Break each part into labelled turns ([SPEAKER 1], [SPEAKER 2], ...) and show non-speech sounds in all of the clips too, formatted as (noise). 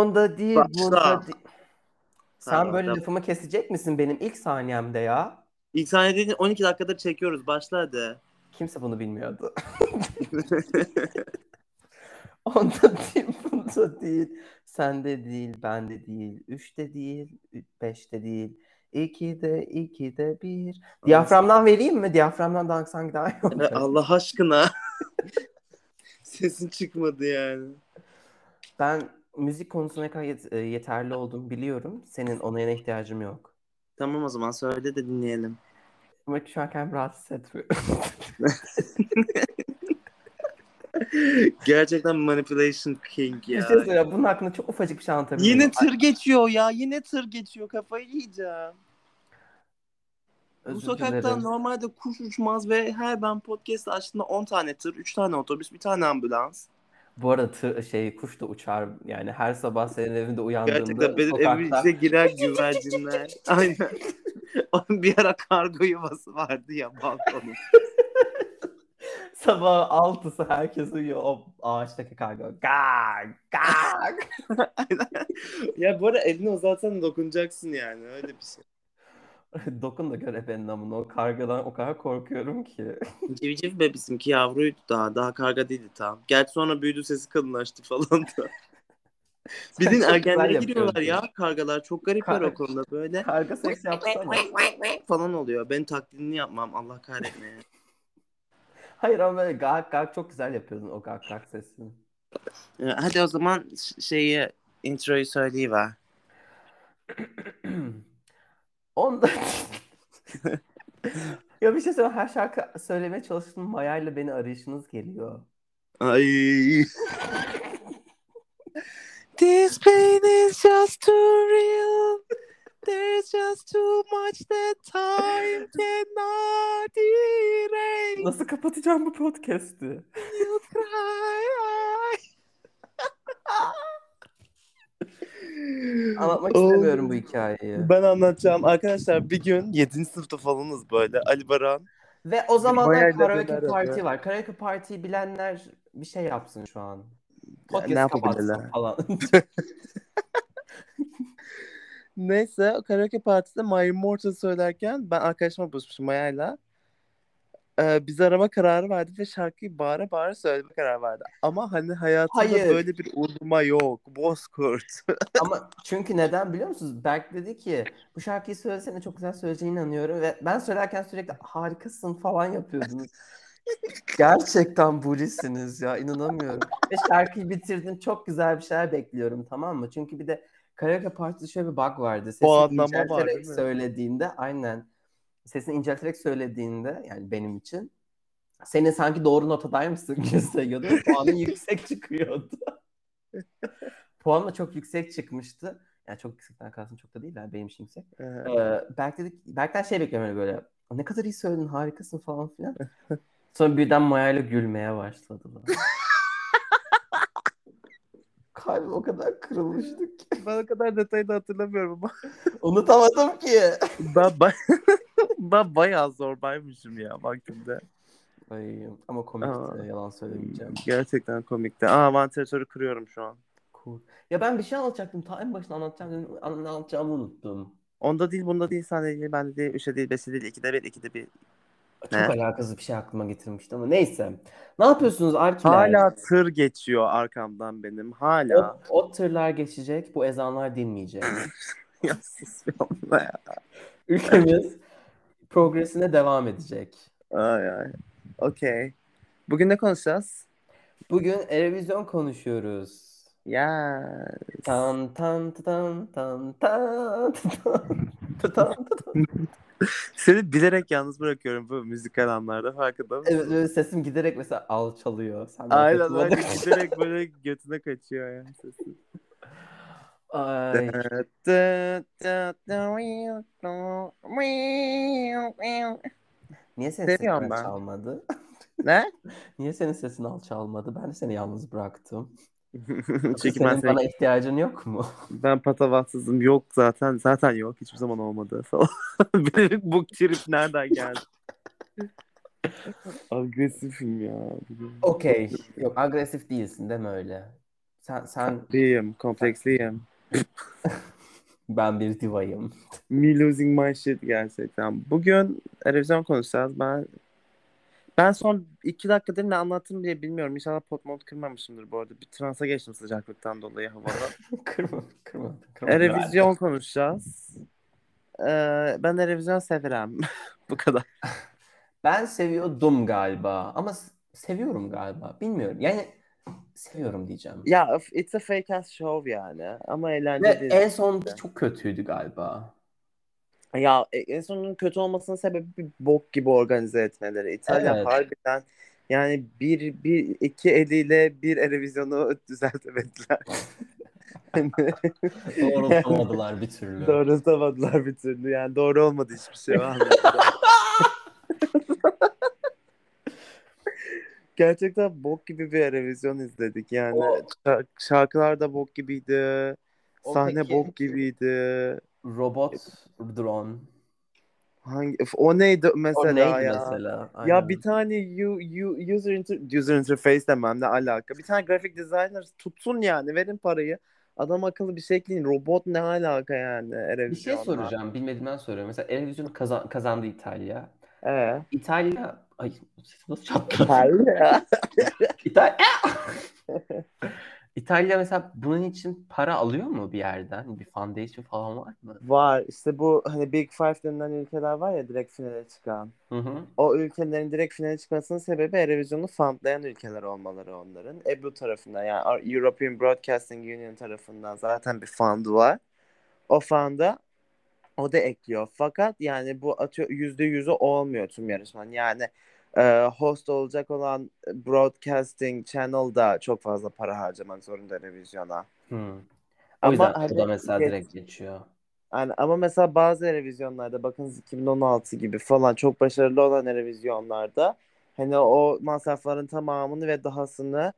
[SPEAKER 1] Onda değil,
[SPEAKER 2] Başla.
[SPEAKER 1] burada değil. Sen
[SPEAKER 2] Pardon,
[SPEAKER 1] böyle
[SPEAKER 2] devam.
[SPEAKER 1] lafımı kesecek misin benim ilk saniyemde ya?
[SPEAKER 2] İlk sahne dediğin 12 dakikadır çekiyoruz.
[SPEAKER 1] (laughs)
[SPEAKER 2] Başla hadi.
[SPEAKER 1] Kimse bunu bilmiyordu. Onda değil, bunda değil. Sende değil, bende değil. Üçte değil, ü- beşte değil. İkide, ikide bir. Diyaframdan vereyim mi? Diyaframdan daha hangi daha iyi
[SPEAKER 2] Ya
[SPEAKER 1] olacak?
[SPEAKER 2] E, Allah aşkına. (laughs) Sesin çıkmadı yani.
[SPEAKER 1] Ben müzik konusuna gayet e, yeterli olduğumu biliyorum. Senin onayına ihtiyacım yok.
[SPEAKER 2] Tamam o zaman söyle de dinleyelim.
[SPEAKER 1] Ama şu an kendimi rahat hissetmiyorum. (laughs)
[SPEAKER 2] Gerçekten manipulation king
[SPEAKER 1] Bir
[SPEAKER 2] ya.
[SPEAKER 1] şey söyleyeyim. Bunun hakkında çok ufacık bir şey anlatabilirim.
[SPEAKER 2] Yine tır geçiyor ya. Yine tır geçiyor. Kafayı yiyeceğim. Bu
[SPEAKER 1] Özür
[SPEAKER 2] sokaktan
[SPEAKER 1] dilerim.
[SPEAKER 2] normalde kuş uçmaz ve her ben podcast açtığımda 10 tane tır, 3 tane otobüs, bir tane ambulans.
[SPEAKER 1] Bu arada tı- şey kuş da uçar. Yani her sabah senin evinde uyandığında
[SPEAKER 2] Gerçekten benim evimin
[SPEAKER 1] sokakta
[SPEAKER 2] içine girer güvercinler. (laughs) Aynen. Onun bir ara kargo yuvası vardı ya balkonun.
[SPEAKER 1] sabah altısı herkes uyuyor o ağaçtaki kargo. Gag gag.
[SPEAKER 2] ya bu arada elini uzatsan dokunacaksın yani öyle bir şey.
[SPEAKER 1] (laughs) Dokun da gör efendim amına o kargadan o kadar korkuyorum
[SPEAKER 2] (laughs)
[SPEAKER 1] ki.
[SPEAKER 2] Civciv be bizimki yavruydu daha. Daha karga değildi tam. Gerçi sonra büyüdü sesi kalınlaştı falan (laughs) da.
[SPEAKER 1] Sen
[SPEAKER 2] Bizim
[SPEAKER 1] çok
[SPEAKER 2] ergenlere
[SPEAKER 1] güzel
[SPEAKER 2] giriyorlar ya
[SPEAKER 1] yapıyorsun.
[SPEAKER 2] kargalar. Çok garipler
[SPEAKER 1] Kar-
[SPEAKER 2] o konuda böyle.
[SPEAKER 1] Karga seks yapsana.
[SPEAKER 2] (laughs) falan oluyor. Ben taklidini yapmam Allah kahretmeye.
[SPEAKER 1] Hayır ama böyle gag gag çok güzel yapıyorsun o gag gag sesini.
[SPEAKER 2] Ee, Hadi o zaman ş- şeyi introyu söyleyiver.
[SPEAKER 1] (clears throat) Onda (laughs) ya bir şey söyleyeyim her şarkı söylemeye çalıştığım Maya ile beni arayışınız geliyor.
[SPEAKER 2] Ay. This pain is just too real. There's just too much that time cannot (laughs) erase.
[SPEAKER 1] Nasıl kapatacağım bu podcast'i?
[SPEAKER 2] You cry.
[SPEAKER 1] Anlatmak istemiyorum bu hikayeyi.
[SPEAKER 2] Ben anlatacağım. Arkadaşlar bir gün 7. sınıfta falanız böyle. Ali Baran.
[SPEAKER 1] Ve o
[SPEAKER 2] Bayağı
[SPEAKER 1] zamanlar
[SPEAKER 2] da
[SPEAKER 1] karaoke
[SPEAKER 2] beraber.
[SPEAKER 1] parti var. Karaoke partiyi bilenler bir şey yapsın şu an. Podcast
[SPEAKER 2] Ne
[SPEAKER 1] kapatsın
[SPEAKER 2] yapabilirler?
[SPEAKER 1] falan.
[SPEAKER 2] Neyse karaoke partisinde My Immortal söylerken ben arkadaşıma buluşmuşum Maya'yla. Ee, bizi arama kararı verdi ve şarkıyı bağıra bağıra söyleme kararı verdi. Ama hani hayatımda
[SPEAKER 1] Hayır.
[SPEAKER 2] böyle bir uğurma yok. (laughs) Bozkurt.
[SPEAKER 1] Ama çünkü neden biliyor musunuz? Berk dedi ki bu şarkıyı söylesene çok güzel söyleyeceğine inanıyorum ve ben söylerken sürekli harikasın falan yapıyordunuz. Gerçekten bulisiniz ya inanamıyorum. Ve şarkıyı bitirdin çok güzel bir şeyler bekliyorum tamam mı? Çünkü bir de karaoke partide şöyle bir bug vardı. Sesini
[SPEAKER 2] Puanlama var,
[SPEAKER 1] incelterek
[SPEAKER 2] değil mi?
[SPEAKER 1] söylediğinde aynen sesini incelterek söylediğinde yani benim için senin sanki doğru notadaymışsın gibi (laughs) sayıyordu. Puanın yüksek çıkıyordu. (laughs) Puan da çok yüksek çıkmıştı. Yani çok yüksekten kalsın çok da değil yani benim için yüksek.
[SPEAKER 2] Ee,
[SPEAKER 1] Ee, Berk dedik, Berk'ten şey bekliyorum hani böyle. Ne kadar iyi söyledin harikasın falan filan. Sonra birden Maya ile gülmeye başladılar. (laughs) Kalbim o kadar kırılmıştı ki.
[SPEAKER 2] ben o kadar detayı da hatırlamıyorum ama.
[SPEAKER 1] Unutamadım ki.
[SPEAKER 2] (laughs) ben, ba- (laughs) ben bayağı zorbaymışım ya baktığımda.
[SPEAKER 1] Ay, ama komikti
[SPEAKER 2] Aa.
[SPEAKER 1] yalan söylemeyeceğim.
[SPEAKER 2] Gerçekten komikti. Aa vantilatörü kırıyorum şu an.
[SPEAKER 1] Cool. Ya ben bir şey anlatacaktım. Ta en başına anlatacağım dedim. an- Ne anlatacağımı unuttum.
[SPEAKER 2] Onda değil bunda değil sende değil bende değil. Üçte değil beşte değil ikide bir ikide bir.
[SPEAKER 1] Çok
[SPEAKER 2] E, Ne?
[SPEAKER 1] alakasız bir şey aklıma getirmişti ama neyse. Ne yapıyorsunuz Arkiler?
[SPEAKER 2] Hala tır geçiyor arkamdan benim. Hala.
[SPEAKER 1] O, o tırlar geçecek, bu ezanlar dinmeyecek.
[SPEAKER 2] Ya sus be abla ya. (laughs)
[SPEAKER 1] Ülkemiz progresine devam edecek.
[SPEAKER 2] Ay ay. Okey. Bugün ne konuşacağız?
[SPEAKER 1] Bugün Erevizyon konuşuyoruz.
[SPEAKER 2] Ya.
[SPEAKER 1] Tan tan tan tan tan tan tan tan.
[SPEAKER 2] Seni bilerek yalnız bırakıyorum bu müzikal anlarda farkında mısın?
[SPEAKER 1] Evet, böyle sesim giderek mesela alçalıyor. Sen böyle
[SPEAKER 2] Aynen (laughs)
[SPEAKER 1] kötü
[SPEAKER 2] öyle
[SPEAKER 1] oldun.
[SPEAKER 2] giderek böyle götüne kaçıyor yani sesi.
[SPEAKER 1] (laughs) Ay, niye senin sesin
[SPEAKER 2] Seviyorum ben.
[SPEAKER 1] alçalmadı?
[SPEAKER 2] ne?
[SPEAKER 1] Niye senin sesin alçalmadı? Ben seni yalnız bıraktım.
[SPEAKER 2] Çünkü ben,
[SPEAKER 1] senin
[SPEAKER 2] seni-
[SPEAKER 1] bana ihtiyacın yok (laughs) mu?
[SPEAKER 2] ben patavatsızım. Yok zaten. Zaten yok. Hiçbir zaman olmadı falan. (laughs) Bilerek bu trip nereden geldi? Agresifim ya.
[SPEAKER 1] Okey. Yok agresif değilsin deme öyle. Sen, sen
[SPEAKER 2] Değilim, kompleksliyim.
[SPEAKER 1] (laughs) ben bir divayım. (laughs)
[SPEAKER 2] Me losing my shit gerçekten. Bugün televizyon konuşacağız. Ben ben son iki dakikadır ne anlattım diye bilmiyorum. İnşallah potmont kırmamışımdır bu arada. Bir transa geçtim sıcaklıktan dolayı havada.
[SPEAKER 1] kırma, kırma, kırma.
[SPEAKER 2] Erevizyon konuşacağız. Ee, ben Erevizyon severim. (laughs) bu kadar.
[SPEAKER 1] Ben seviyordum galiba ama s- seviyorum galiba. Bilmiyorum. Yani seviyorum diyeceğim.
[SPEAKER 2] Ya of, it's a fake ass show yani. Ama
[SPEAKER 1] Ve
[SPEAKER 2] eğlenceli.
[SPEAKER 1] en sonki çok kötüydü galiba. (laughs)
[SPEAKER 2] Ya e, en sonunun kötü olmasının sebebi bir bok gibi organize etmeleri. İtalya
[SPEAKER 1] Evet.
[SPEAKER 2] harbiden yani bir, bir iki eliyle bir Erevizyon'u düzeltemediler. (laughs) Hani
[SPEAKER 1] Doğrultamadılar bir türlü.
[SPEAKER 2] doğrultamadılar bir türlü. Yani doğru olmadı
[SPEAKER 1] (laughs)
[SPEAKER 2] hiçbir şey. var mı? Gerçekten bok gibi bir Erevizyon izledik. Yani
[SPEAKER 1] O-
[SPEAKER 2] şark- şarkılar da bok gibiydi.
[SPEAKER 1] O
[SPEAKER 2] Sahne
[SPEAKER 1] peki-
[SPEAKER 2] bok gibiydi.
[SPEAKER 1] Robot, drone.
[SPEAKER 2] Hangi, o neydi mesela
[SPEAKER 1] O neydi
[SPEAKER 2] ya?
[SPEAKER 1] mesela?
[SPEAKER 2] Ya
[SPEAKER 1] Aynen.
[SPEAKER 2] bir tane u, u, user, inter- user interface demem ne alaka. Bir tane graphic designer tutsun yani verin parayı. Adam akıllı bir şey ekleyin. Robot ne alaka yani
[SPEAKER 1] Bir şey
[SPEAKER 2] Erevizyon'la?
[SPEAKER 1] soracağım. Bilmediğimden soruyorum. Mesela Eurovision'u kazan- kazandı İtalya.
[SPEAKER 2] Ee?
[SPEAKER 1] İtalya... Ay nasıl çapkın?
[SPEAKER 2] İtalya.
[SPEAKER 1] (laughs) İtalya... (laughs) İtalya mesela bunun için para alıyor mu bir yerden? Bir foundation falan var mı?
[SPEAKER 2] (laughs) var işte bu hani Big Five denilen ülkeler var ya direkt finale çıkan.
[SPEAKER 1] Hı hı.
[SPEAKER 2] O ülkelerin direkt finale çıkmasının sebebi Erevizyon'u fundlayan ülkeler olmaları onların. Ebru tarafından yani European Broadcasting Union tarafından zaten bir fund var. O fanda o da ekliyor. Fakat yani bu atıyor yüzde yüzü olmuyor tüm yarışmanın. Yani e, host olacak olan broadcasting channel da çok fazla para harcamak zorunda televizyona.
[SPEAKER 1] Hı. O
[SPEAKER 2] Ama
[SPEAKER 1] yüzden
[SPEAKER 2] hani
[SPEAKER 1] bu da mesela
[SPEAKER 2] geç-
[SPEAKER 1] direkt geçiyor.
[SPEAKER 2] Yani ama mesela bazı televizyonlarda bakın 2016 gibi falan çok başarılı olan televizyonlarda hani o masrafların tamamını ve dahasını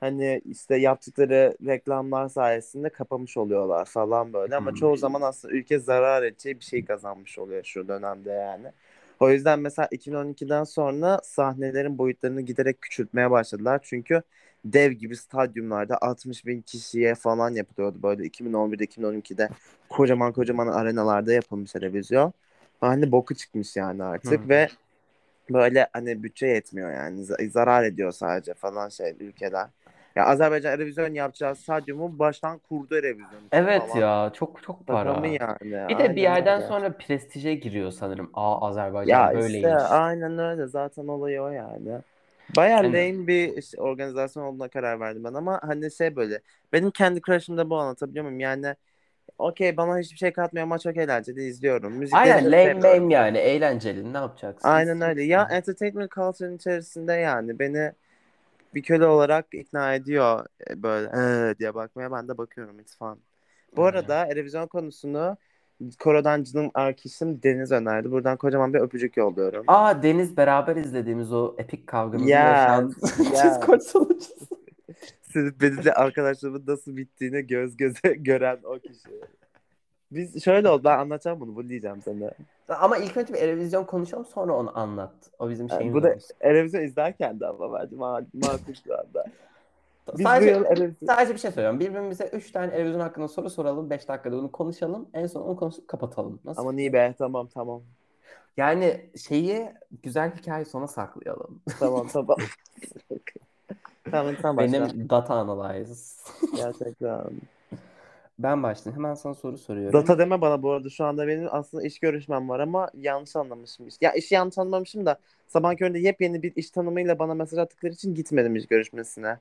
[SPEAKER 2] hani işte yaptıkları reklamlar sayesinde kapamış oluyorlar falan böyle ama
[SPEAKER 1] Hmm.
[SPEAKER 2] çoğu zaman aslında ülke zarar edeceği bir şey kazanmış oluyor şu dönemde yani. O yüzden mesela 2012'den sonra sahnelerin boyutlarını giderek küçültmeye başladılar. Çünkü dev gibi stadyumlarda 60 bin kişiye falan yapılıyordu böyle 2011'de 2012'de kocaman kocaman arenalarda yapılmış televizyon. Hani boku çıkmış yani artık
[SPEAKER 1] Hı.
[SPEAKER 2] ve böyle hani bütçe yetmiyor yani Z- zarar ediyor sadece falan şey ülkeler. Ya Azerbaycan televizyon yapacağı stadyumu baştan kurdu televizyon.
[SPEAKER 1] Evet ya çok çok para.
[SPEAKER 2] Para. yani?
[SPEAKER 1] Bir de
[SPEAKER 2] Aynen
[SPEAKER 1] bir yerden
[SPEAKER 2] öyle.
[SPEAKER 1] sonra prestije giriyor sanırım. Aa Azerbaycan
[SPEAKER 2] Ya
[SPEAKER 1] böyleymiş.
[SPEAKER 2] işte aynen öyle zaten olayı o yani. Baya
[SPEAKER 1] Aynen.
[SPEAKER 2] lame bir iş- organizasyon olduğuna karar verdim ben ama hani şey böyle benim kendi crush'ımda bu anlatabiliyor muyum? Yani okey bana hiçbir şey katmıyor ama çok eğlenceli izliyorum. Müzikleri
[SPEAKER 1] Aynen
[SPEAKER 2] çok
[SPEAKER 1] lame
[SPEAKER 2] seviyorum.
[SPEAKER 1] lame yani eğlenceli ne yapacaksın?
[SPEAKER 2] Aynen öyle. Ya entertainment culture'ın içerisinde yani beni bir köle olarak ikna ediyor e, böyle "Ee" diye bakmaya ben de bakıyorum it's fun. Bu
[SPEAKER 1] Aynen.
[SPEAKER 2] arada televizyon konusunu Koro'dan canım arkadaşım Deniz önerdi. Buradan kocaman bir öpücük yolluyorum.
[SPEAKER 1] Aa Deniz beraber izlediğimiz o epik kavgamızın
[SPEAKER 2] Yes, (laughs)
[SPEAKER 1] yaşandığı
[SPEAKER 2] yes.
[SPEAKER 1] Discord sunucusu.
[SPEAKER 2] Siz benimle arkadaşlığımın nasıl bittiğini göz göze (laughs) gören o kişi. Biz şöyle oldu ben anlatacağım bunu bunu diyeceğim sana.
[SPEAKER 1] Ama ilk önce bir televizyon konuşalım sonra onu anlat. O bizim
[SPEAKER 2] Ha,
[SPEAKER 1] şeyimiz
[SPEAKER 2] bu da-
[SPEAKER 1] olmuş.
[SPEAKER 2] Televizyon izlerken de ama bence ma- makul şu anda. Biz bu
[SPEAKER 1] Sadece,
[SPEAKER 2] yıl televizyon-
[SPEAKER 1] sadece bir şey söylüyorum. Birbirimize 3 tane televizyon hakkında soru soralım. 5 dakikada onu konuşalım. En son onu konuşup kapatalım. Nasıl?
[SPEAKER 2] Aman iyi be tamam tamam.
[SPEAKER 1] Yani şeyi güzel hikaye sona saklayalım.
[SPEAKER 2] Tamam tamam. tamam sen (laughs) başla.
[SPEAKER 1] Benim data analysis.
[SPEAKER 2] Gerçekten.
[SPEAKER 1] ben başlayayım. Hemen sana soru soruyorum.
[SPEAKER 2] Data deme bana bu arada şu anda benim aslında iş görüşmem var ama yanlış anlamışım. Ya işi yanlış anlamışım da sabah köründe yepyeni bir iş tanımıyla bana mesaj attıkları için gitmedim iş görüşmesine.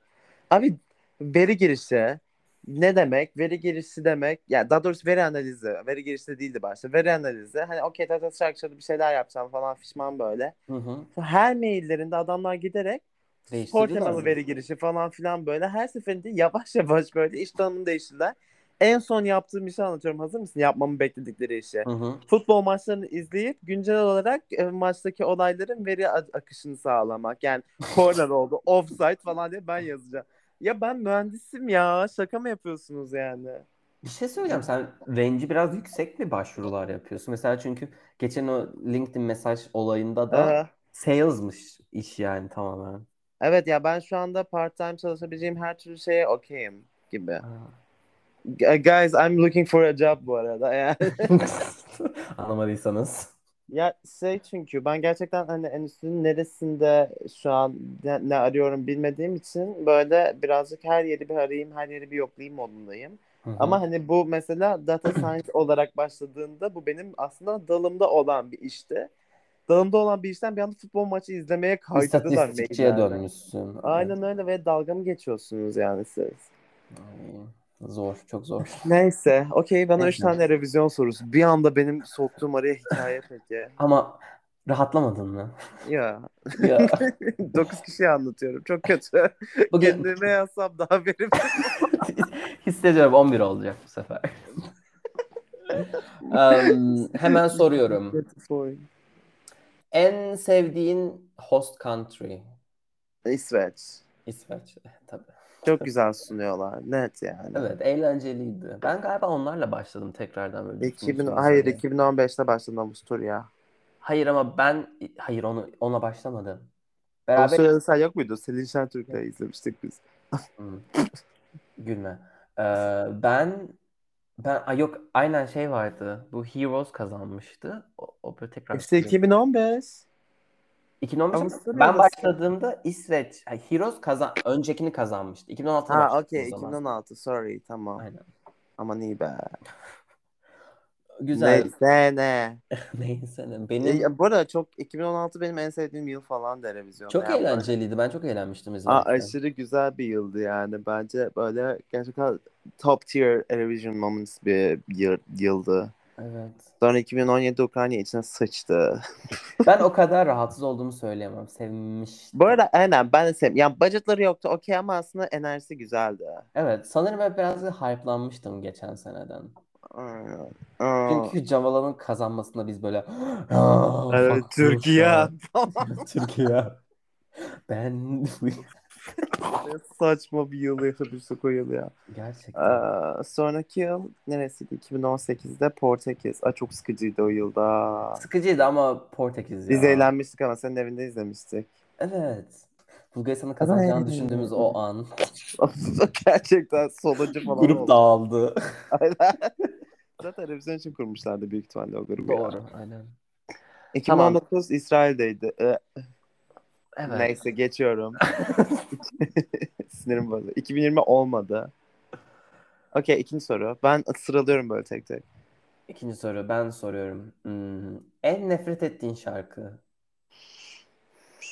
[SPEAKER 2] Abi veri girişi ne demek? Veri girişi demek. Ya daha doğrusu veri analizi. Veri girişi de değildi başta. Veri analizi. Hani okey tata şarkıları bir şeyler yapacağım falan fişman böyle.
[SPEAKER 1] Hı hı.
[SPEAKER 2] Her maillerinde adamlar giderek spor
[SPEAKER 1] Değiştirdiler
[SPEAKER 2] temalı
[SPEAKER 1] mi?
[SPEAKER 2] veri girişi falan filan böyle. Her seferinde yavaş yavaş böyle iş tanımını değiştirdiler. En son yaptığım işi anlatıyorum. Hazır mısın? Yapmamı bekledikleri işi.
[SPEAKER 1] Hı hı.
[SPEAKER 2] Futbol maçlarını izleyip güncel olarak e, maçtaki olayların veri a- akışını sağlamak. Yani
[SPEAKER 1] (laughs)
[SPEAKER 2] corner oldu, offside falan diye ben yazacağım. Ya ben mühendisim ya. Şaka mı yapıyorsunuz yani?
[SPEAKER 1] Bir şey söyleyeceğim. Sen range'i biraz yüksek mi başvurular yapıyorsun? Mesela çünkü geçen o LinkedIn mesaj olayında da
[SPEAKER 2] Aha.
[SPEAKER 1] sales'mış iş yani tamamen.
[SPEAKER 2] (laughs) Evet ya ben şu anda part time çalışabileceğim her türlü şeye okeyim. gibi. Gu- Guys I'm looking for a job bu arada. (laughs) Yani.
[SPEAKER 1] Anlamadıysanız.
[SPEAKER 2] Ya şey çünkü ben gerçekten hani en üstünün neresinde şu an ne, ne arıyorum bilmediğim için böyle birazcık her yeri bir arayayım, her yeri bir yoklayayım modundayım. Ama hani bu mesela data science olarak başladığında bu benim aslında dalımda olan bir işti. Dalımda olan bir işten bir anda futbol maçı izlemeye kaydırdılar
[SPEAKER 1] İstatistikçiye
[SPEAKER 2] meydana.
[SPEAKER 1] dönmüşsün.
[SPEAKER 2] Aynen öyle ve dalga mı geçiyorsunuz yani siz?
[SPEAKER 1] Ay, Zor, çok zor.
[SPEAKER 2] Neyse, okey bana üç
[SPEAKER 1] Neyse.
[SPEAKER 2] tane revizyon sorusu. Bir anda benim soktuğum araya hikaye peki.
[SPEAKER 1] Ama rahatlamadın
[SPEAKER 2] (laughs)
[SPEAKER 1] mı?
[SPEAKER 2] Ya.
[SPEAKER 1] Ya,
[SPEAKER 2] 9 kişiye anlatıyorum. Çok kötü.
[SPEAKER 1] (laughs) bugün
[SPEAKER 2] Kendime yazsam
[SPEAKER 1] (laughs)
[SPEAKER 2] daha verim.
[SPEAKER 1] hissediyorum 11 olacak bu
[SPEAKER 2] (laughs)
[SPEAKER 1] sefer. Em, hemen soruyorum. En sevdiğin host country?
[SPEAKER 2] İsveç.
[SPEAKER 1] İsveç. eh, Tabii.
[SPEAKER 2] Çok güzel sunuyorlar. Net yani.
[SPEAKER 1] Evet, eğlenceliydi. Ben galiba onlarla başladım tekrardan böyle
[SPEAKER 2] 2000,
[SPEAKER 1] düşünürseniz
[SPEAKER 2] hayır
[SPEAKER 1] hani.
[SPEAKER 2] 2015'te başladı Namus Tur ya.
[SPEAKER 1] Hayır ama ben hayır onu ona başlamadım.
[SPEAKER 2] O
[SPEAKER 1] Beraber
[SPEAKER 2] sırada sen yok muydu? Selin Şentürk'le izlemiştik biz.
[SPEAKER 1] Hmm. Gülme. Ee, ben ben ay yok aynen şey vardı. Bu Heroes kazanmıştı. O, o böyle tekrar
[SPEAKER 2] İşte 2015.
[SPEAKER 1] 2015 'e-
[SPEAKER 2] Avusturya
[SPEAKER 1] ben
[SPEAKER 2] mı?
[SPEAKER 1] başladığımda İsveç ay, Heroes kazan öncekini kazanmıştı. 2016'da
[SPEAKER 2] Ha
[SPEAKER 1] başladım
[SPEAKER 2] okey
[SPEAKER 1] o zaman.
[SPEAKER 2] 2016 sorry tamam.
[SPEAKER 1] Aynen.
[SPEAKER 2] Aman iyi be.
[SPEAKER 1] Güzel.
[SPEAKER 2] Neyse ne.
[SPEAKER 1] (laughs) Neyse ne. Benim
[SPEAKER 2] E, bu arada çok 2016 benim en sevdiğim yıl falan televizyonda.
[SPEAKER 1] çok
[SPEAKER 2] Yani böyle-
[SPEAKER 1] eğlenceliydi. Ben çok eğlenmiştim
[SPEAKER 2] Aa,
[SPEAKER 1] izlerken.
[SPEAKER 2] aşırı güzel bir yıldı yani. Bence böyle gerçekten top tier Eurovision moments bir yıl, yıldı.
[SPEAKER 1] Evet.
[SPEAKER 2] Sonra 2017 Ukrayna içine sıçtı.
[SPEAKER 1] Ben o kadar rahatsız olduğumu söyleyemem. Sevmiştim.
[SPEAKER 2] Bu arada aynen ben de sevim. Yani budgetları yoktu okey ama aslında enerjisi güzeldi.
[SPEAKER 1] Evet, sanırım hep biraz da hype'lanmıştım geçen seneden.
[SPEAKER 2] Aynen. Aa,
[SPEAKER 1] Çünkü Cemal'ın kazanmasında biz böyle "Ah,
[SPEAKER 2] evet,
[SPEAKER 1] fuck
[SPEAKER 2] Türkiye.
[SPEAKER 1] Rusya." (laughs) Türkiye. Ben (laughs)
[SPEAKER 2] Ne Saçma bir yıl yaşamıştık o yıl ya.
[SPEAKER 1] gerçekten
[SPEAKER 2] Aa, sonraki yıl neresiydi? 2018'de Portekiz. Aa, çok sıkıcıydı o yılda.
[SPEAKER 1] sıkıcıydı ama Portekiz
[SPEAKER 2] Biz
[SPEAKER 1] ya.
[SPEAKER 2] eğlenmiştik ama senin evinde izlemiştik.
[SPEAKER 1] Evet. Bulgaristan'ın kazanacağını
[SPEAKER 2] Ay.
[SPEAKER 1] düşündüğümüz o an.
[SPEAKER 2] (laughs) Gerçekten sonuncu falan
[SPEAKER 1] Grup
[SPEAKER 2] oldu.
[SPEAKER 1] dağıldı.
[SPEAKER 2] Aynen. (laughs) Zaten revizyon için kurmuşlardı büyük ihtimalle o grubu. ya.
[SPEAKER 1] Doğru. Aynen.
[SPEAKER 2] 2019 İsrail'deydi. Ee,
[SPEAKER 1] Evet. (laughs)
[SPEAKER 2] Neyse geçiyorum. (laughs) Sinirim bozuldu. 2020 olmadı. Okey ikinci soru. Ben sıralıyorum böyle tek tek.
[SPEAKER 1] İkinci soru. Ben soruyorum. Hmm, en nefret ettiğin şarkı?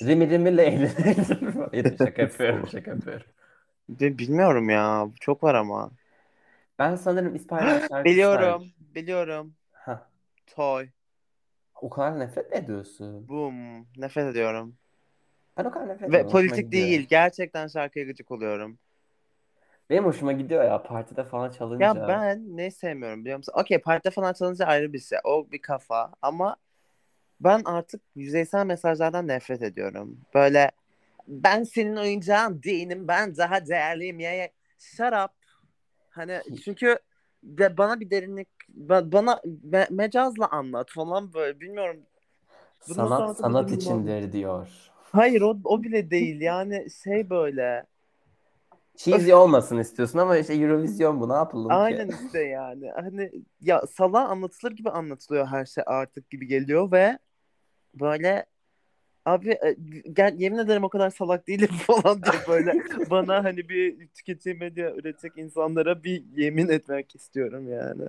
[SPEAKER 1] Rimi Rimi'yle eğlenir. (laughs) Hayır,
[SPEAKER 2] (laughs)
[SPEAKER 1] şaka yapıyorum. Şaka yapıyorum.
[SPEAKER 2] Bi- Bilmiyorum ya. Çok var ama.
[SPEAKER 1] Ben sanırım
[SPEAKER 2] (gasps)
[SPEAKER 1] İspanyol şarkısı var.
[SPEAKER 2] Biliyorum. Biliyorum.
[SPEAKER 1] Hah,
[SPEAKER 2] Toy.
[SPEAKER 1] o kadar nefret mi ediyorsun?
[SPEAKER 2] Boom. Nefret ediyorum.
[SPEAKER 1] Ben o kadar nefret
[SPEAKER 2] Ve
[SPEAKER 1] ediyorum. hoşuma
[SPEAKER 2] politik
[SPEAKER 1] gidiyor.
[SPEAKER 2] değil. Gerçekten şarkıya gıcık oluyorum.
[SPEAKER 1] Benim hoşuma gidiyor ya partide falan çalınca.
[SPEAKER 2] Ya ben ne sevmiyorum biliyor musun? Okey partide falan çalınca ayrı bir şey. O bir kafa ama ben artık yüzeysel mesajlardan nefret ediyorum. Böyle ben senin oyuncağın değilim ben daha değerliyim ya. ya. Shut up. Hani çünkü de bana bir derinlik ba- bana me- mecazla anlat falan böyle bilmiyorum. bunun
[SPEAKER 1] Sanat
[SPEAKER 2] sanatı
[SPEAKER 1] sanat
[SPEAKER 2] bizim
[SPEAKER 1] içindir diyor.
[SPEAKER 2] Hayır o, o bile değil yani şey böyle.
[SPEAKER 1] Cheesy olmasın istiyorsun ama işte Eurovision bu ne yapalım ki?
[SPEAKER 2] Aynen işte yani. Hani ya sala anlatılır gibi anlatılıyor her şey artık gibi geliyor ve böyle abi e, gel yemin ederim o kadar salak değilim (laughs) falan diye böyle bana hani bir tüketici medya üretecek insanlara bir yemin etmek istiyorum yani.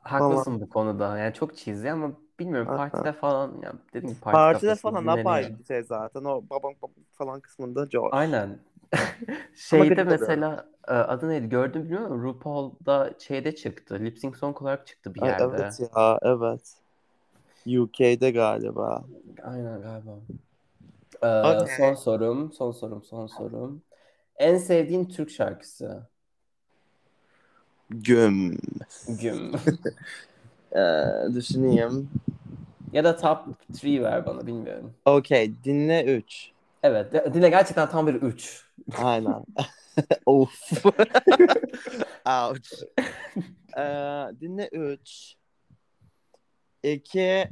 [SPEAKER 1] Haklısın bu konuda. Yani çok cheesy ama bilmiyorum
[SPEAKER 2] Aha.
[SPEAKER 1] partide falan ya dedim ki parti
[SPEAKER 2] Partide
[SPEAKER 1] kafası
[SPEAKER 2] falan
[SPEAKER 1] dinleniyor.
[SPEAKER 2] apayrı bir şey zaten. O babam babam falan kısmında George.
[SPEAKER 1] Aynen. (laughs) Şeyde
[SPEAKER 2] gıcık oluyorum.
[SPEAKER 1] mesela e, adı neydi gördüm bilmiyorum ama RuPaul'da şeyde çıktı. Lip Sync Song olarak çıktı bir
[SPEAKER 2] Ay,
[SPEAKER 1] yerde.
[SPEAKER 2] evet ya evet. UK'de galiba.
[SPEAKER 1] Aynen galiba. Ee,
[SPEAKER 2] Okey.
[SPEAKER 1] son sorum, son sorum, son sorum. En sevdiğin Türk şarkısı?
[SPEAKER 2] Güm. (laughs)
[SPEAKER 1] Güm.
[SPEAKER 2] Ee, düşüneyim.
[SPEAKER 1] Ya da top 3 ver bana bilmiyorum.
[SPEAKER 2] Okey dinle 3.
[SPEAKER 1] Evet, de- dinle gerçekten tam bir 3.
[SPEAKER 2] Aynen. of. Ouch. Ee, dinle 3. 2.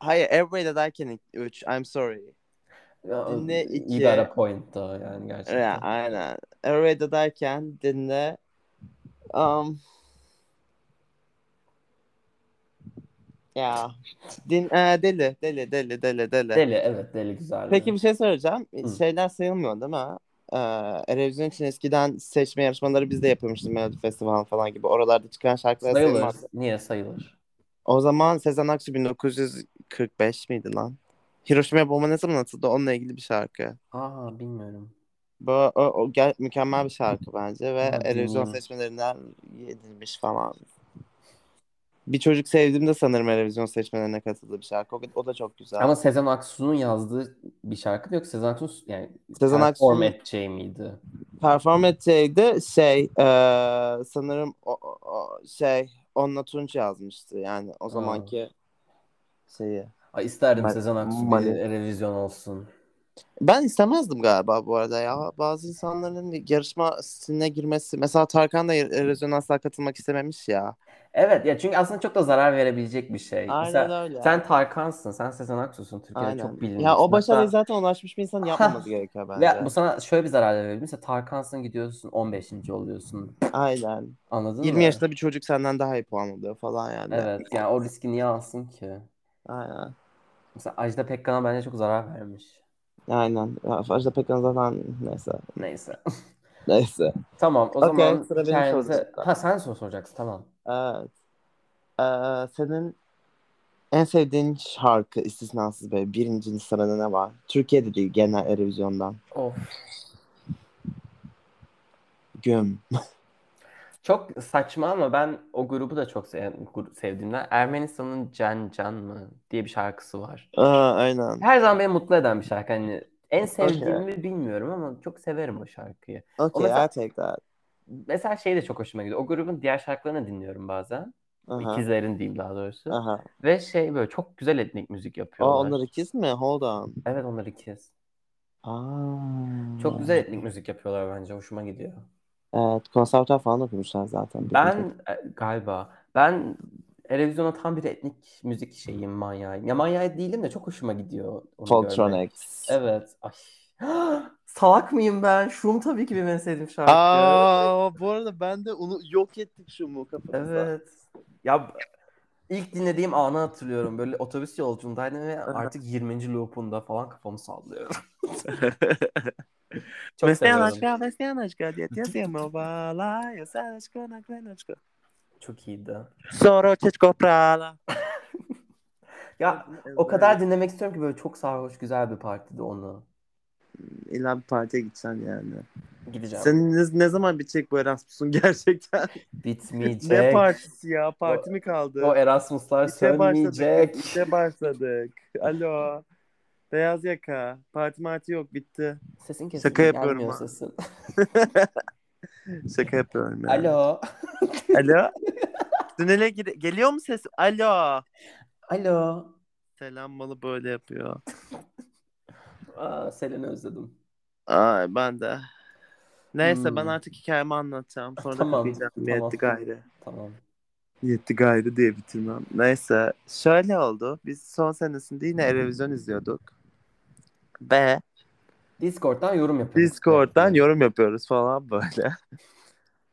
[SPEAKER 2] Hayır, Every Day Darken 3. I'm sorry. Dinle iki.
[SPEAKER 1] You got a point though yani gerçekten.
[SPEAKER 2] Ya, aynen. Arrowhead derken dinle. Um, ya din e, deli deli deli deli deli.
[SPEAKER 1] Deli evet deli güzel.
[SPEAKER 2] Peki bir şey soracağım.
[SPEAKER 1] Hı.
[SPEAKER 2] Şeyler sayılmıyor değil mi? Ee, Erevizyon için eskiden seçme yarışmaları biz de yapıyormuştuk. Melodi Festival falan gibi. Oralarda çıkan şarkılar
[SPEAKER 1] sayılır.
[SPEAKER 2] sayılmaz.
[SPEAKER 1] Niye sayılır?
[SPEAKER 2] O zaman Sezen Aksu 1945 miydi lan? Hiroşima'ya bomba ne zaman atıldı? Onunla ilgili bir şarkı.
[SPEAKER 1] Aa bilmiyorum.
[SPEAKER 2] Bu o, o gel- mükemmel bir şarkı bence ve
[SPEAKER 1] Ha,
[SPEAKER 2] Erevizyon
[SPEAKER 1] dinleyeyim.
[SPEAKER 2] seçmelerinden yedilmiş falan. Bir çocuk sevdiğimde sanırım Erevizyon seçmelerine katıldığı bir şarkı. O, o da çok güzel.
[SPEAKER 1] Ama Sezen Aksu'nun yazdığı bir şarkı mı yok? Sezen Aksu yani
[SPEAKER 2] Sezen
[SPEAKER 1] perform
[SPEAKER 2] Aksu'nun-
[SPEAKER 1] edeceği miydi?
[SPEAKER 2] Perform edeceğiydi şey eee, sanırım o, o- o- şey Onunla Tunç yazmıştı yani o zamanki şeyi.
[SPEAKER 1] Ay isterdim
[SPEAKER 2] Ma-
[SPEAKER 1] Sezen Aksu bir
[SPEAKER 2] Mali.
[SPEAKER 1] revizyon olsun.
[SPEAKER 2] Ben istemezdim galiba bu arada ya. Bazı insanların yarışma stiline girmesi. Mesela Tarkan da Erozyon'a asla katılmak istememiş ya.
[SPEAKER 1] Evet ya çünkü aslında çok da zarar verebilecek bir şey.
[SPEAKER 2] Aynen
[SPEAKER 1] Mesela
[SPEAKER 2] öyle.
[SPEAKER 1] sen Tarkan'sın, sen Sezen Aksu'sun Türkiye'de
[SPEAKER 2] Aynen.
[SPEAKER 1] çok bilinmişsin.
[SPEAKER 2] Ya o başarıya
[SPEAKER 1] Hatta-
[SPEAKER 2] zaten ulaşmış bir insan yapmaması gerekiyor bence.
[SPEAKER 1] Ya bu sana şöyle bir zarar verebilir. Mesela Tarkan'sın gidiyorsun 15. oluyorsun.
[SPEAKER 2] Aynen.
[SPEAKER 1] Anladın
[SPEAKER 2] 20
[SPEAKER 1] mı?
[SPEAKER 2] yaşında bir çocuk senden daha iyi puan alıyor falan yani.
[SPEAKER 1] Evet yani o riski niye alsın ki?
[SPEAKER 2] Aynen.
[SPEAKER 1] Mesela Ajda Pekkan'a bence çok zarar vermiş.
[SPEAKER 2] Aynen. Ya, Ajda Pekkan zaten neyse.
[SPEAKER 1] Neyse. (laughs)
[SPEAKER 2] Neyse.
[SPEAKER 1] Tamam o
[SPEAKER 2] Okey,
[SPEAKER 1] zaman
[SPEAKER 2] sıra benim
[SPEAKER 1] hikayemize-
[SPEAKER 2] sorumda.
[SPEAKER 1] Ha sen soru soracaksın tamam.
[SPEAKER 2] Evet. Ee, senin en sevdiğin şarkı istisnasız böyle birinci sırada ne var? Türkiye'de değil genel Erevizyon'dan.
[SPEAKER 1] Of.
[SPEAKER 2] Güm.
[SPEAKER 1] Çok saçma ama ben o grubu da çok sev- gru- sevdiğimden. Ermenistan'ın Can Can mı diye bir şarkısı var.
[SPEAKER 2] Aa, aynen.
[SPEAKER 1] Her zaman beni mutlu eden bir şarkı. Hani en sevdiğimi bilmiyorum ama çok severim o şarkıyı.
[SPEAKER 2] Okay,
[SPEAKER 1] Ama sen-
[SPEAKER 2] I take that.
[SPEAKER 1] Mesela şey de çok hoşuma gidiyor. O grubun diğer şarkılarını dinliyorum bazen.
[SPEAKER 2] Aha.
[SPEAKER 1] İkizlerin diyeyim daha doğrusu.
[SPEAKER 2] Aha.
[SPEAKER 1] Ve şey böyle çok güzel etnik müzik
[SPEAKER 2] Aa,
[SPEAKER 1] yapıyorlar.
[SPEAKER 2] onlar ikiz mi? Hold on.
[SPEAKER 1] Evet onlar ikiz.
[SPEAKER 2] Aa.
[SPEAKER 1] Çok güzel etnik müzik yapıyorlar bence. Hoşuma gidiyor.
[SPEAKER 2] Evet, konservatuar falan okumuşlar zaten.
[SPEAKER 1] Ben e, galiba ben Erevizyon'a tam bir etnik müzik şeyim manyağıyım. Ya manyağı değilim de çok hoşuma gidiyor onu görmek.
[SPEAKER 2] Folktronics.
[SPEAKER 1] Evet. Ay. (gasps) Salak mıyım ben? Şum tabii ki benim en sevdiğim şarkı.
[SPEAKER 2] Aa, bu arada ben de onu yok ettik şu mu kafamızda.
[SPEAKER 1] Evet. Ya ilk dinlediğim anı hatırlıyorum. Böyle otobüs yolculuğundaydım ve artık 20. loop'unda falan kafamı sallıyorum. (laughs) Çok seviyorum.
[SPEAKER 2] mesleğen aşka diye yazıyor bala, yazan aşka, naklen aşka.
[SPEAKER 1] Çok iyiydi.
[SPEAKER 2] Sonra çeçko prala.
[SPEAKER 1] Ya o kadar dinlemek istiyorum ki böyle çok sarhoş güzel bir partide onu.
[SPEAKER 2] İlla bir partiye gideceksin yani.
[SPEAKER 1] Gideceğim.
[SPEAKER 2] Senin ne, ne zaman bitecek bu Erasmus'un (laughs) gerçekten? ne
[SPEAKER 1] Bitmeyecek.
[SPEAKER 2] partisi ya? Parti mi kaldı?
[SPEAKER 1] O Erasmus'lar
[SPEAKER 2] İşe başladık.
[SPEAKER 1] sönmeyecek.
[SPEAKER 2] İşe başladık. Alo. Beyaz yaka. Parti marti yok bitti.
[SPEAKER 1] Sesin kesildi.
[SPEAKER 2] Şaka yapıyorum
[SPEAKER 1] gelmiyor
[SPEAKER 2] ha. (laughs)
[SPEAKER 1] sesin.
[SPEAKER 2] Şaka yapıyorum ya.
[SPEAKER 1] Alo.
[SPEAKER 2] Alo. (laughs) Tünele gir- geliyor mu ses? Alo.
[SPEAKER 1] Alo.
[SPEAKER 2] Selam malı böyle yapıyor.
[SPEAKER 1] Aa, Selen'i özledim.
[SPEAKER 2] Ay ben de. Neyse
[SPEAKER 1] Hmm.
[SPEAKER 2] ben artık hikayemi anlatacağım. Sonra
[SPEAKER 1] Tamam,
[SPEAKER 2] da kapayacağım.
[SPEAKER 1] tamam.
[SPEAKER 2] Yetti gayrı.
[SPEAKER 1] Tamam.
[SPEAKER 2] Yetti gayrı diye bitirmem. Neyse şöyle oldu. Biz son senesinde yine Erevizyon izliyorduk. Ve
[SPEAKER 1] Discord'dan yorum yapıyoruz.
[SPEAKER 2] Discord'dan yorum yapıyoruz falan böyle. (laughs)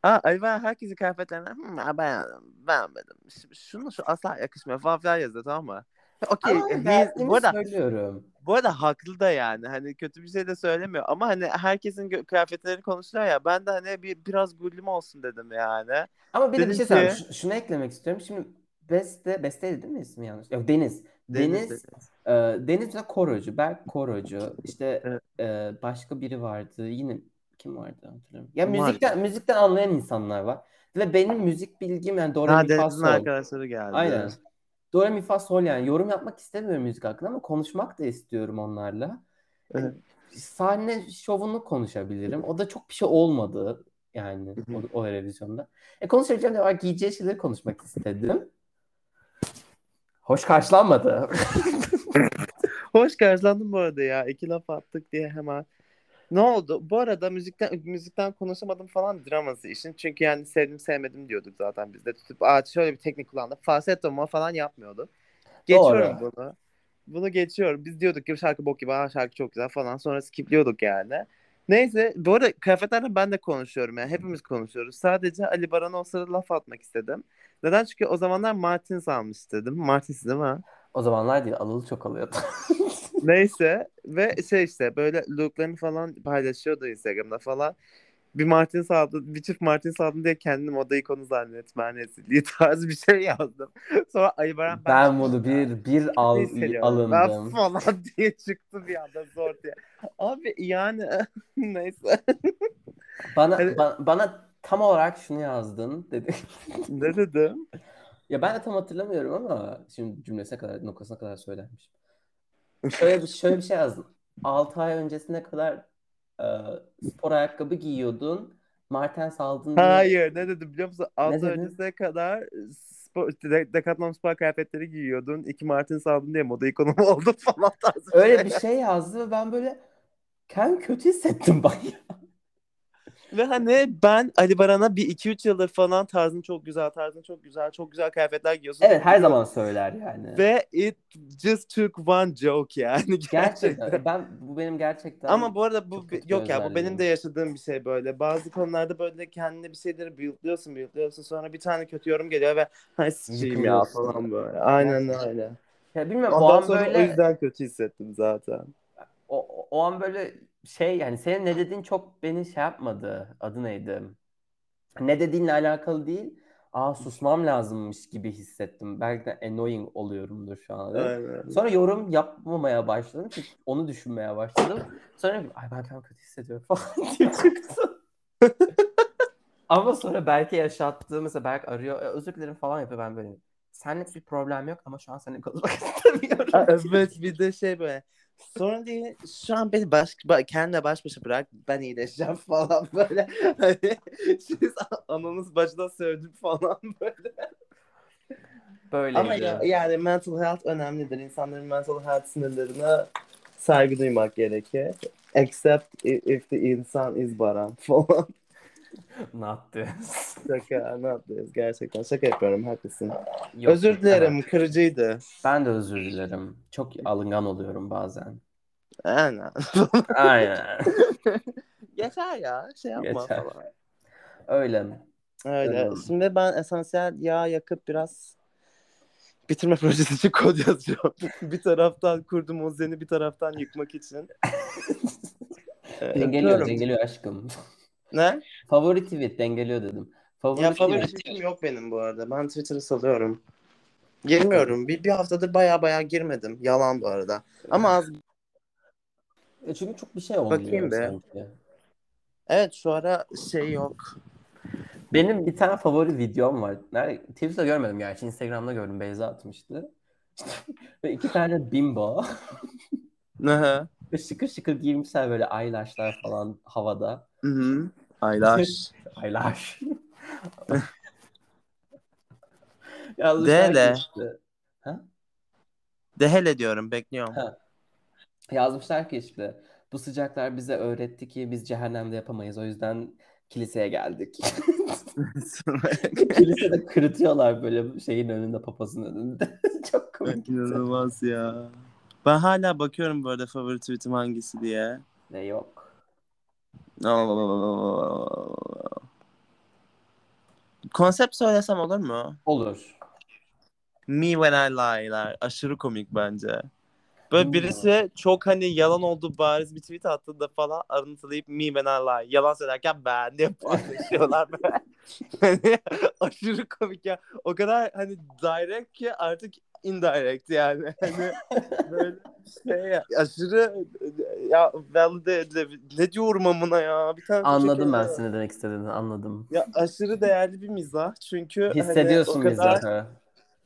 [SPEAKER 2] Aa, ay ben herkesin kıyafetlerinden "Hmm, ben beğendim, beğenmedim. Ş- Şunu şu asla yakışmıyor falan filan yazıyor tamam mı? Okey.
[SPEAKER 1] Ama
[SPEAKER 2] he-
[SPEAKER 1] derdimi
[SPEAKER 2] bu arada
[SPEAKER 1] söylüyorum.
[SPEAKER 2] Bu arada haklı da yani hani kötü bir şey de söylemiyor ama hani herkesin gö- kıyafetleri konuşuluyor ya ben de hani bir biraz gullüm olsun dedim yani.
[SPEAKER 1] Ama bir de
[SPEAKER 2] Dedim
[SPEAKER 1] bir şey
[SPEAKER 2] ki-
[SPEAKER 1] söyleyeyim. Ş- şunu eklemek istiyorum. Şimdi Beste, Beste'ydi değil mi ismi yanlış? Yok Deniz. Deniz, Deniz, e, Deniz mesela Korocu, Berk Korocu. İşte
[SPEAKER 2] Evet.
[SPEAKER 1] e, başka biri vardı. Yine kim vardı hatırlamıyorum. Ya
[SPEAKER 2] Kim vardı?
[SPEAKER 1] müzikten, müzikten anlayan insanlar var. Ve benim müzik bilgim yani Dora
[SPEAKER 2] Ha
[SPEAKER 1] Mi Fa
[SPEAKER 2] Deniz'in
[SPEAKER 1] Sol.
[SPEAKER 2] arkadaşları geldi.
[SPEAKER 1] Aynen. Dora Mi Fa Sol yani yorum yapmak istemiyorum müzik hakkında ama konuşmak da istiyorum onlarla. Hani
[SPEAKER 2] Evet.
[SPEAKER 1] Sahne şovunu konuşabilirim. O da çok bir şey olmadı yani o, o revizyonda. E konuşabileceğim de var giyeceği şeyleri konuşmak istedim. Hoş karşılanmadı.
[SPEAKER 2] Hoş karşılandım bu arada ya. İki laf attık diye hemen. Ne oldu? Bu arada müzikten müzikten konuşamadım falan draması işin. Çünkü yani sevdim sevmedim diyorduk zaten biz de. Tutup Aa, şöyle bir teknik kullandık. Falsetto mu falan yapmıyordu. Geçiyorum bunu. Bunu geçiyorum. Biz diyorduk ki şarkı bok gibi. Aa, şarkı çok güzel falan. Sonra skipliyorduk yani. Neyse bu arada kıyafetlerle ben de konuşuyorum yani hepimiz konuşuyoruz. Sadece Ali Baran'a o sırada laf atmak istedim. Neden? Çünkü o zamanlar Martins almış dedim. Martins değil mi?
[SPEAKER 1] O zamanlar değil alalı çok alıyordu.
[SPEAKER 2] Neyse ve şey işte böyle looklarını falan paylaşıyordu Instagram'da falan. Bir Martins aldım, bir çift Martins aldım diye kendim moda ikonu zannetme (laughs) rezilliği tarzı bir şey yazdım. Sonra Ali Baran
[SPEAKER 1] ben Şey bunu bir bir al
[SPEAKER 2] hissediyorum. Ben
[SPEAKER 1] alındım.
[SPEAKER 2] falan (laughs) diye çıktı bir anda zor diye. Abi yani (laughs) neyse.
[SPEAKER 1] Bana
[SPEAKER 2] Evet.
[SPEAKER 1] ba- bana tam olarak şunu yazdın dedi. (laughs)
[SPEAKER 2] ne dedim?
[SPEAKER 1] Ya ben de tam hatırlamıyorum ama şimdi cümlesine kadar, noktasına kadar
[SPEAKER 2] (laughs)
[SPEAKER 1] söylenmiş. Şöyle bir, şöyle bir şey yazdım. 6 ay öncesine kadar e, spor ayakkabı giyiyordun. Martens aldın diye.
[SPEAKER 2] Hayır ne dedim biliyor musun? 6
[SPEAKER 1] dedin?
[SPEAKER 2] öncesine kadar spor, de- Decathlon spor kıyafetleri giyiyordun. 2 Martins aldın diye moda ikonu (laughs) oldun falan tarzı. bir
[SPEAKER 1] Öyle
[SPEAKER 2] şey.
[SPEAKER 1] bir şey yazdı ve ben böyle kendimi kötü hissettim bak. (laughs)
[SPEAKER 2] Ve hani ben Ali Baran'a bir 2-3 yıldır falan tarzın çok güzel, tarzın çok güzel, çok güzel kıyafetler giyiyorsun.
[SPEAKER 1] Evet her zaman söyler yani.
[SPEAKER 2] Ve it just took one joke yani.
[SPEAKER 1] (laughs) Gerçekten ben bu benim gerçekten
[SPEAKER 2] Ama bu arada bu
[SPEAKER 1] Çok kötü
[SPEAKER 2] yok ya bu
[SPEAKER 1] özelliği.
[SPEAKER 2] benim de yaşadığım bir şey böyle. Bazı konularda böyle kendine bir şeyleri büyütüyorsun, büyütüyorsun. Sonra bir tane kötü yorum geliyor ve hay sıçayım ya
[SPEAKER 1] Yıkılıyorsun.
[SPEAKER 2] falan böyle. Aynen öyle.
[SPEAKER 1] ya bilmiyorum o
[SPEAKER 2] Ondan
[SPEAKER 1] an
[SPEAKER 2] sonra
[SPEAKER 1] böyle
[SPEAKER 2] o yüzden kötü hissettim zaten.
[SPEAKER 1] o, o an böyle şey yani senin ne dediğin çok beni şey yapmadı. Adı neydi? Ne dediğinle alakalı değil. Aa susmam lazımmış gibi hissettim. Belki de annoying oluyorumdur şu an.
[SPEAKER 2] Aynen.
[SPEAKER 1] Sonra yorum yapmamaya başladım. Çünkü onu düşünmeye başladım. Sonra ay ben kendimi kötü hissediyorum (laughs) falan diye çıktım. (laughs) ama sonra belki yaşattığı mesela Berk arıyor. "E, özür dilerim falan yapıyor ben böyle. Seninle bir problem yok ama şu an seninle konuşmak (laughs)
[SPEAKER 2] (laughs) Aa,
[SPEAKER 1] istemiyorum.
[SPEAKER 2] evet bir de şey böyle. Sonra diye şu an beni baş, ba- kendine baş başa bırak ben iyileşeceğim (laughs) falan böyle. Hani siz ananız başına sövdüm falan böyle.
[SPEAKER 1] Böyleydi.
[SPEAKER 2] Ama ya- yani mental health önemlidir. İnsanların mental health sınırlarına saygı duymak gerekir. Except i- if the insan is baran (laughs) falan.
[SPEAKER 1] Not this.
[SPEAKER 2] Şaka ne yapıyoruz gerçekten. Şaka yapıyorum haklısın.
[SPEAKER 1] Yok,
[SPEAKER 2] Özür
[SPEAKER 1] yok,
[SPEAKER 2] dilerim
[SPEAKER 1] evet.
[SPEAKER 2] kırıcıydı.
[SPEAKER 1] Ben de özür dilerim. Çok alıngan oluyorum
[SPEAKER 2] (laughs)
[SPEAKER 1] bazen.
[SPEAKER 2] Aynen.
[SPEAKER 1] Aynen.
[SPEAKER 2] Geçer ya şey yapma
[SPEAKER 1] Geçer.
[SPEAKER 2] falan.
[SPEAKER 1] Öyle.
[SPEAKER 2] Öyle.
[SPEAKER 1] Tamam.
[SPEAKER 2] Şimdi ben esansiyel yağ yakıp biraz bitirme (laughs) projesi için kod yazacağım. (laughs) bir taraftan kurdum o zeni bir taraftan yıkmak (laughs) için. Ee,
[SPEAKER 1] Dengeliyor,
[SPEAKER 2] öpüyorum.
[SPEAKER 1] dengeliyor aşkım. (laughs)
[SPEAKER 2] Ne?
[SPEAKER 1] Favori tweet dengeliyor dedim. Favori
[SPEAKER 2] Ya favori
[SPEAKER 1] tweet.
[SPEAKER 2] tweetim yok benim bu arada. Ben Twitter'ı salıyorum. Girmiyorum. Bir, bir haftadır baya baya girmedim. Yalan bu arada. Ama az...
[SPEAKER 1] E Çünkü çok bir şey olmuyor
[SPEAKER 2] Bakayım be.
[SPEAKER 1] sanki.
[SPEAKER 2] Evet şu ara şey yok.
[SPEAKER 1] Benim bir tane favori videom var. Nerede? Twitter'da görmedim gerçi. Instagram'da gördüm. Beyza atmıştı. (laughs) Ve iki tane bimbo. (laughs)
[SPEAKER 2] Aha.
[SPEAKER 1] Ve şıkır şıkır giymişler böyle eyelashlar falan havada.
[SPEAKER 2] Hı hı. Aylaş.
[SPEAKER 1] Eyelash. (laughs) Yanlış
[SPEAKER 2] Dele.
[SPEAKER 1] herkeste.
[SPEAKER 2] (laughs) De hele diyorum bekliyorum.
[SPEAKER 1] Yazmışlar ki işte bu sıcaklar bize öğretti ki biz cehennemde yapamayız. O yüzden kiliseye geldik. (laughs)
[SPEAKER 2] (laughs)
[SPEAKER 1] Kilisede kırıtıyorlar böyle şeyin önünde, papazın önünde. (laughs) Çok komik.
[SPEAKER 2] İnanılmaz ya. Ben hala bakıyorum bu arada favori tweetim hangisi diye.
[SPEAKER 1] Ne yok.
[SPEAKER 2] Konsept söylesem olur mu?
[SPEAKER 1] Olur.
[SPEAKER 2] Me When I Lie'lar. Aşırı komik bence. Böyle
[SPEAKER 1] Hmm.
[SPEAKER 2] birisi çok hani yalan olduğu bariz bir tweet attığında falan arıntılayıp Me When I Lie. Yalan söylerken ben diye
[SPEAKER 1] (laughs)
[SPEAKER 2] paylaşıyorlar böyle. Hani aşırı komik ya. O kadar hani direct ki artık indirect yani. Hani böyle şey ya. Aşırı ya valide edile- Ne diyorum amına ya. Bir tane
[SPEAKER 1] Anladım ben
[SPEAKER 2] şekilde-
[SPEAKER 1] seni demek istediğini anladım.
[SPEAKER 2] Ya aşırı değerli bir mizah çünkü hani
[SPEAKER 1] Hissediyorsun
[SPEAKER 2] o kadar,
[SPEAKER 1] bizi.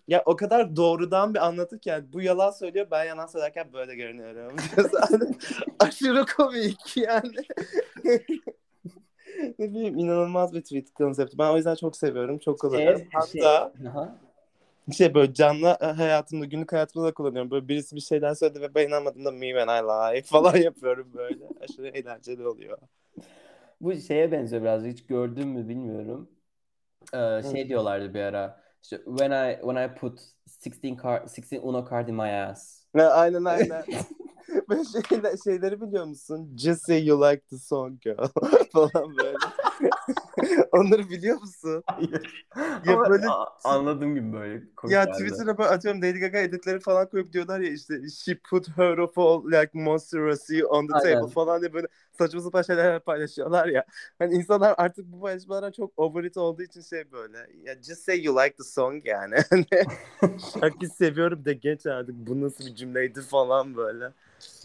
[SPEAKER 2] ya o kadar doğrudan bir anlatırken bu yalan söylüyor ben yalan söylerken böyle görünüyorum. (laughs) Diyorsun. aşırı komik yani. (laughs) ne bileyim inanılmaz bir tweet konsepti. Ben o yüzden çok seviyorum. Çok kullanıyorum.
[SPEAKER 1] Şey, şey-
[SPEAKER 2] Hatta
[SPEAKER 1] Aha.
[SPEAKER 2] şey, böyle canlı hayatımda günlük hayatımda da kullanıyorum. Böyle birisi bir şeyler söyledi ve ben inanmadığımda me and I lie falan (laughs) yapıyorum böyle. Aşırı eğlenceli oluyor.
[SPEAKER 1] Bu şeye benziyor biraz. Hiç gördün mü bilmiyorum. Ee, şey diyorlardı bir ara. İşte when I when I put 16 card 16 uno card in my ass.
[SPEAKER 2] Ne, Aynen aynen. Böyle şeyler, şeyleri biliyor musun? Just say you like the song girl (laughs) falan böyle. Onları biliyor musun? Ya
[SPEAKER 1] Ama
[SPEAKER 2] böyle-
[SPEAKER 1] a- anladığım gibi böyle
[SPEAKER 2] Ya
[SPEAKER 1] koşardı.
[SPEAKER 2] Twitter'a böyle atıyorum Lady Gaga editleri falan koyup diyorlar ya işte she put her of all like monstrosity on the
[SPEAKER 1] Aynen.
[SPEAKER 2] table falan diye böyle saçma sapan şeyler paylaşıyorlar ya. Hani insanlar artık bu paylaşmalara çok over it olduğu için şey böyle ya just say you like the song yani. (laughs) Hani Şarkıyı seviyorum de geç artık bu nasıl bir cümleydi falan böyle.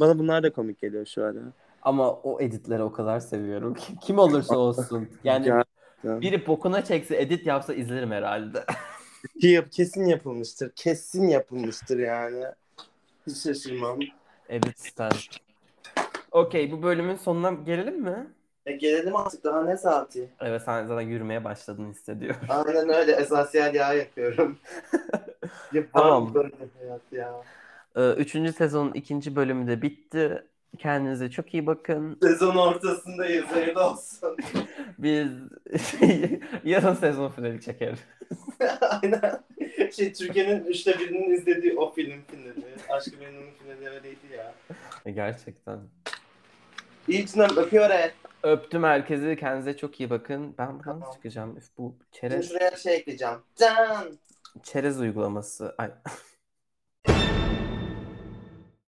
[SPEAKER 2] Bana bunlar da komik geliyor şu an.
[SPEAKER 1] Ama o editleri o kadar seviyorum ki. Kim olursa (laughs) olsun. Yani
[SPEAKER 2] Ya-
[SPEAKER 1] biri bokuna çekse edit yapsa izlerim herhalde. (laughs)
[SPEAKER 2] Kesin yapılmıştır. Kesin yapılmıştır yani. Hiç şaşırmam.
[SPEAKER 1] Edit stand. Okey bu bölümün sonuna gelelim mi?
[SPEAKER 2] E gelelim artık daha ne saati?
[SPEAKER 1] Evet sen zaten yürümeye başladığını hissediyorum.
[SPEAKER 2] Aynen öyle. Esansiyel yağ yapıyorum.
[SPEAKER 1] Tamam.
[SPEAKER 2] Yaparım böyle bir hayat ya.
[SPEAKER 1] (laughs) Ee, Üçüncü sezonun ikinci bölümü de bitti. Kendinize çok iyi bakın.
[SPEAKER 2] Sezon ortasındayız. Hayırlı olsun. (laughs)
[SPEAKER 1] Biz (laughs) yarın sezon finali çekeriz.
[SPEAKER 2] Aynen. Şey, Türkiye'nin üçte birinin izlediği o film finali. Aşkı Memnun'un finali öyleydi ya.
[SPEAKER 1] Gerçekten.
[SPEAKER 2] İyi canım öpüyor he.
[SPEAKER 1] Öptüm herkesi. Kendinize çok iyi bakın. Ben buradan
[SPEAKER 2] Tamam.
[SPEAKER 1] çıkacağım. Üf, bu
[SPEAKER 2] Şimdi
[SPEAKER 1] çerez,
[SPEAKER 2] şuraya şey ekleyeceğim. Can!
[SPEAKER 1] çerez uygulaması. Ay.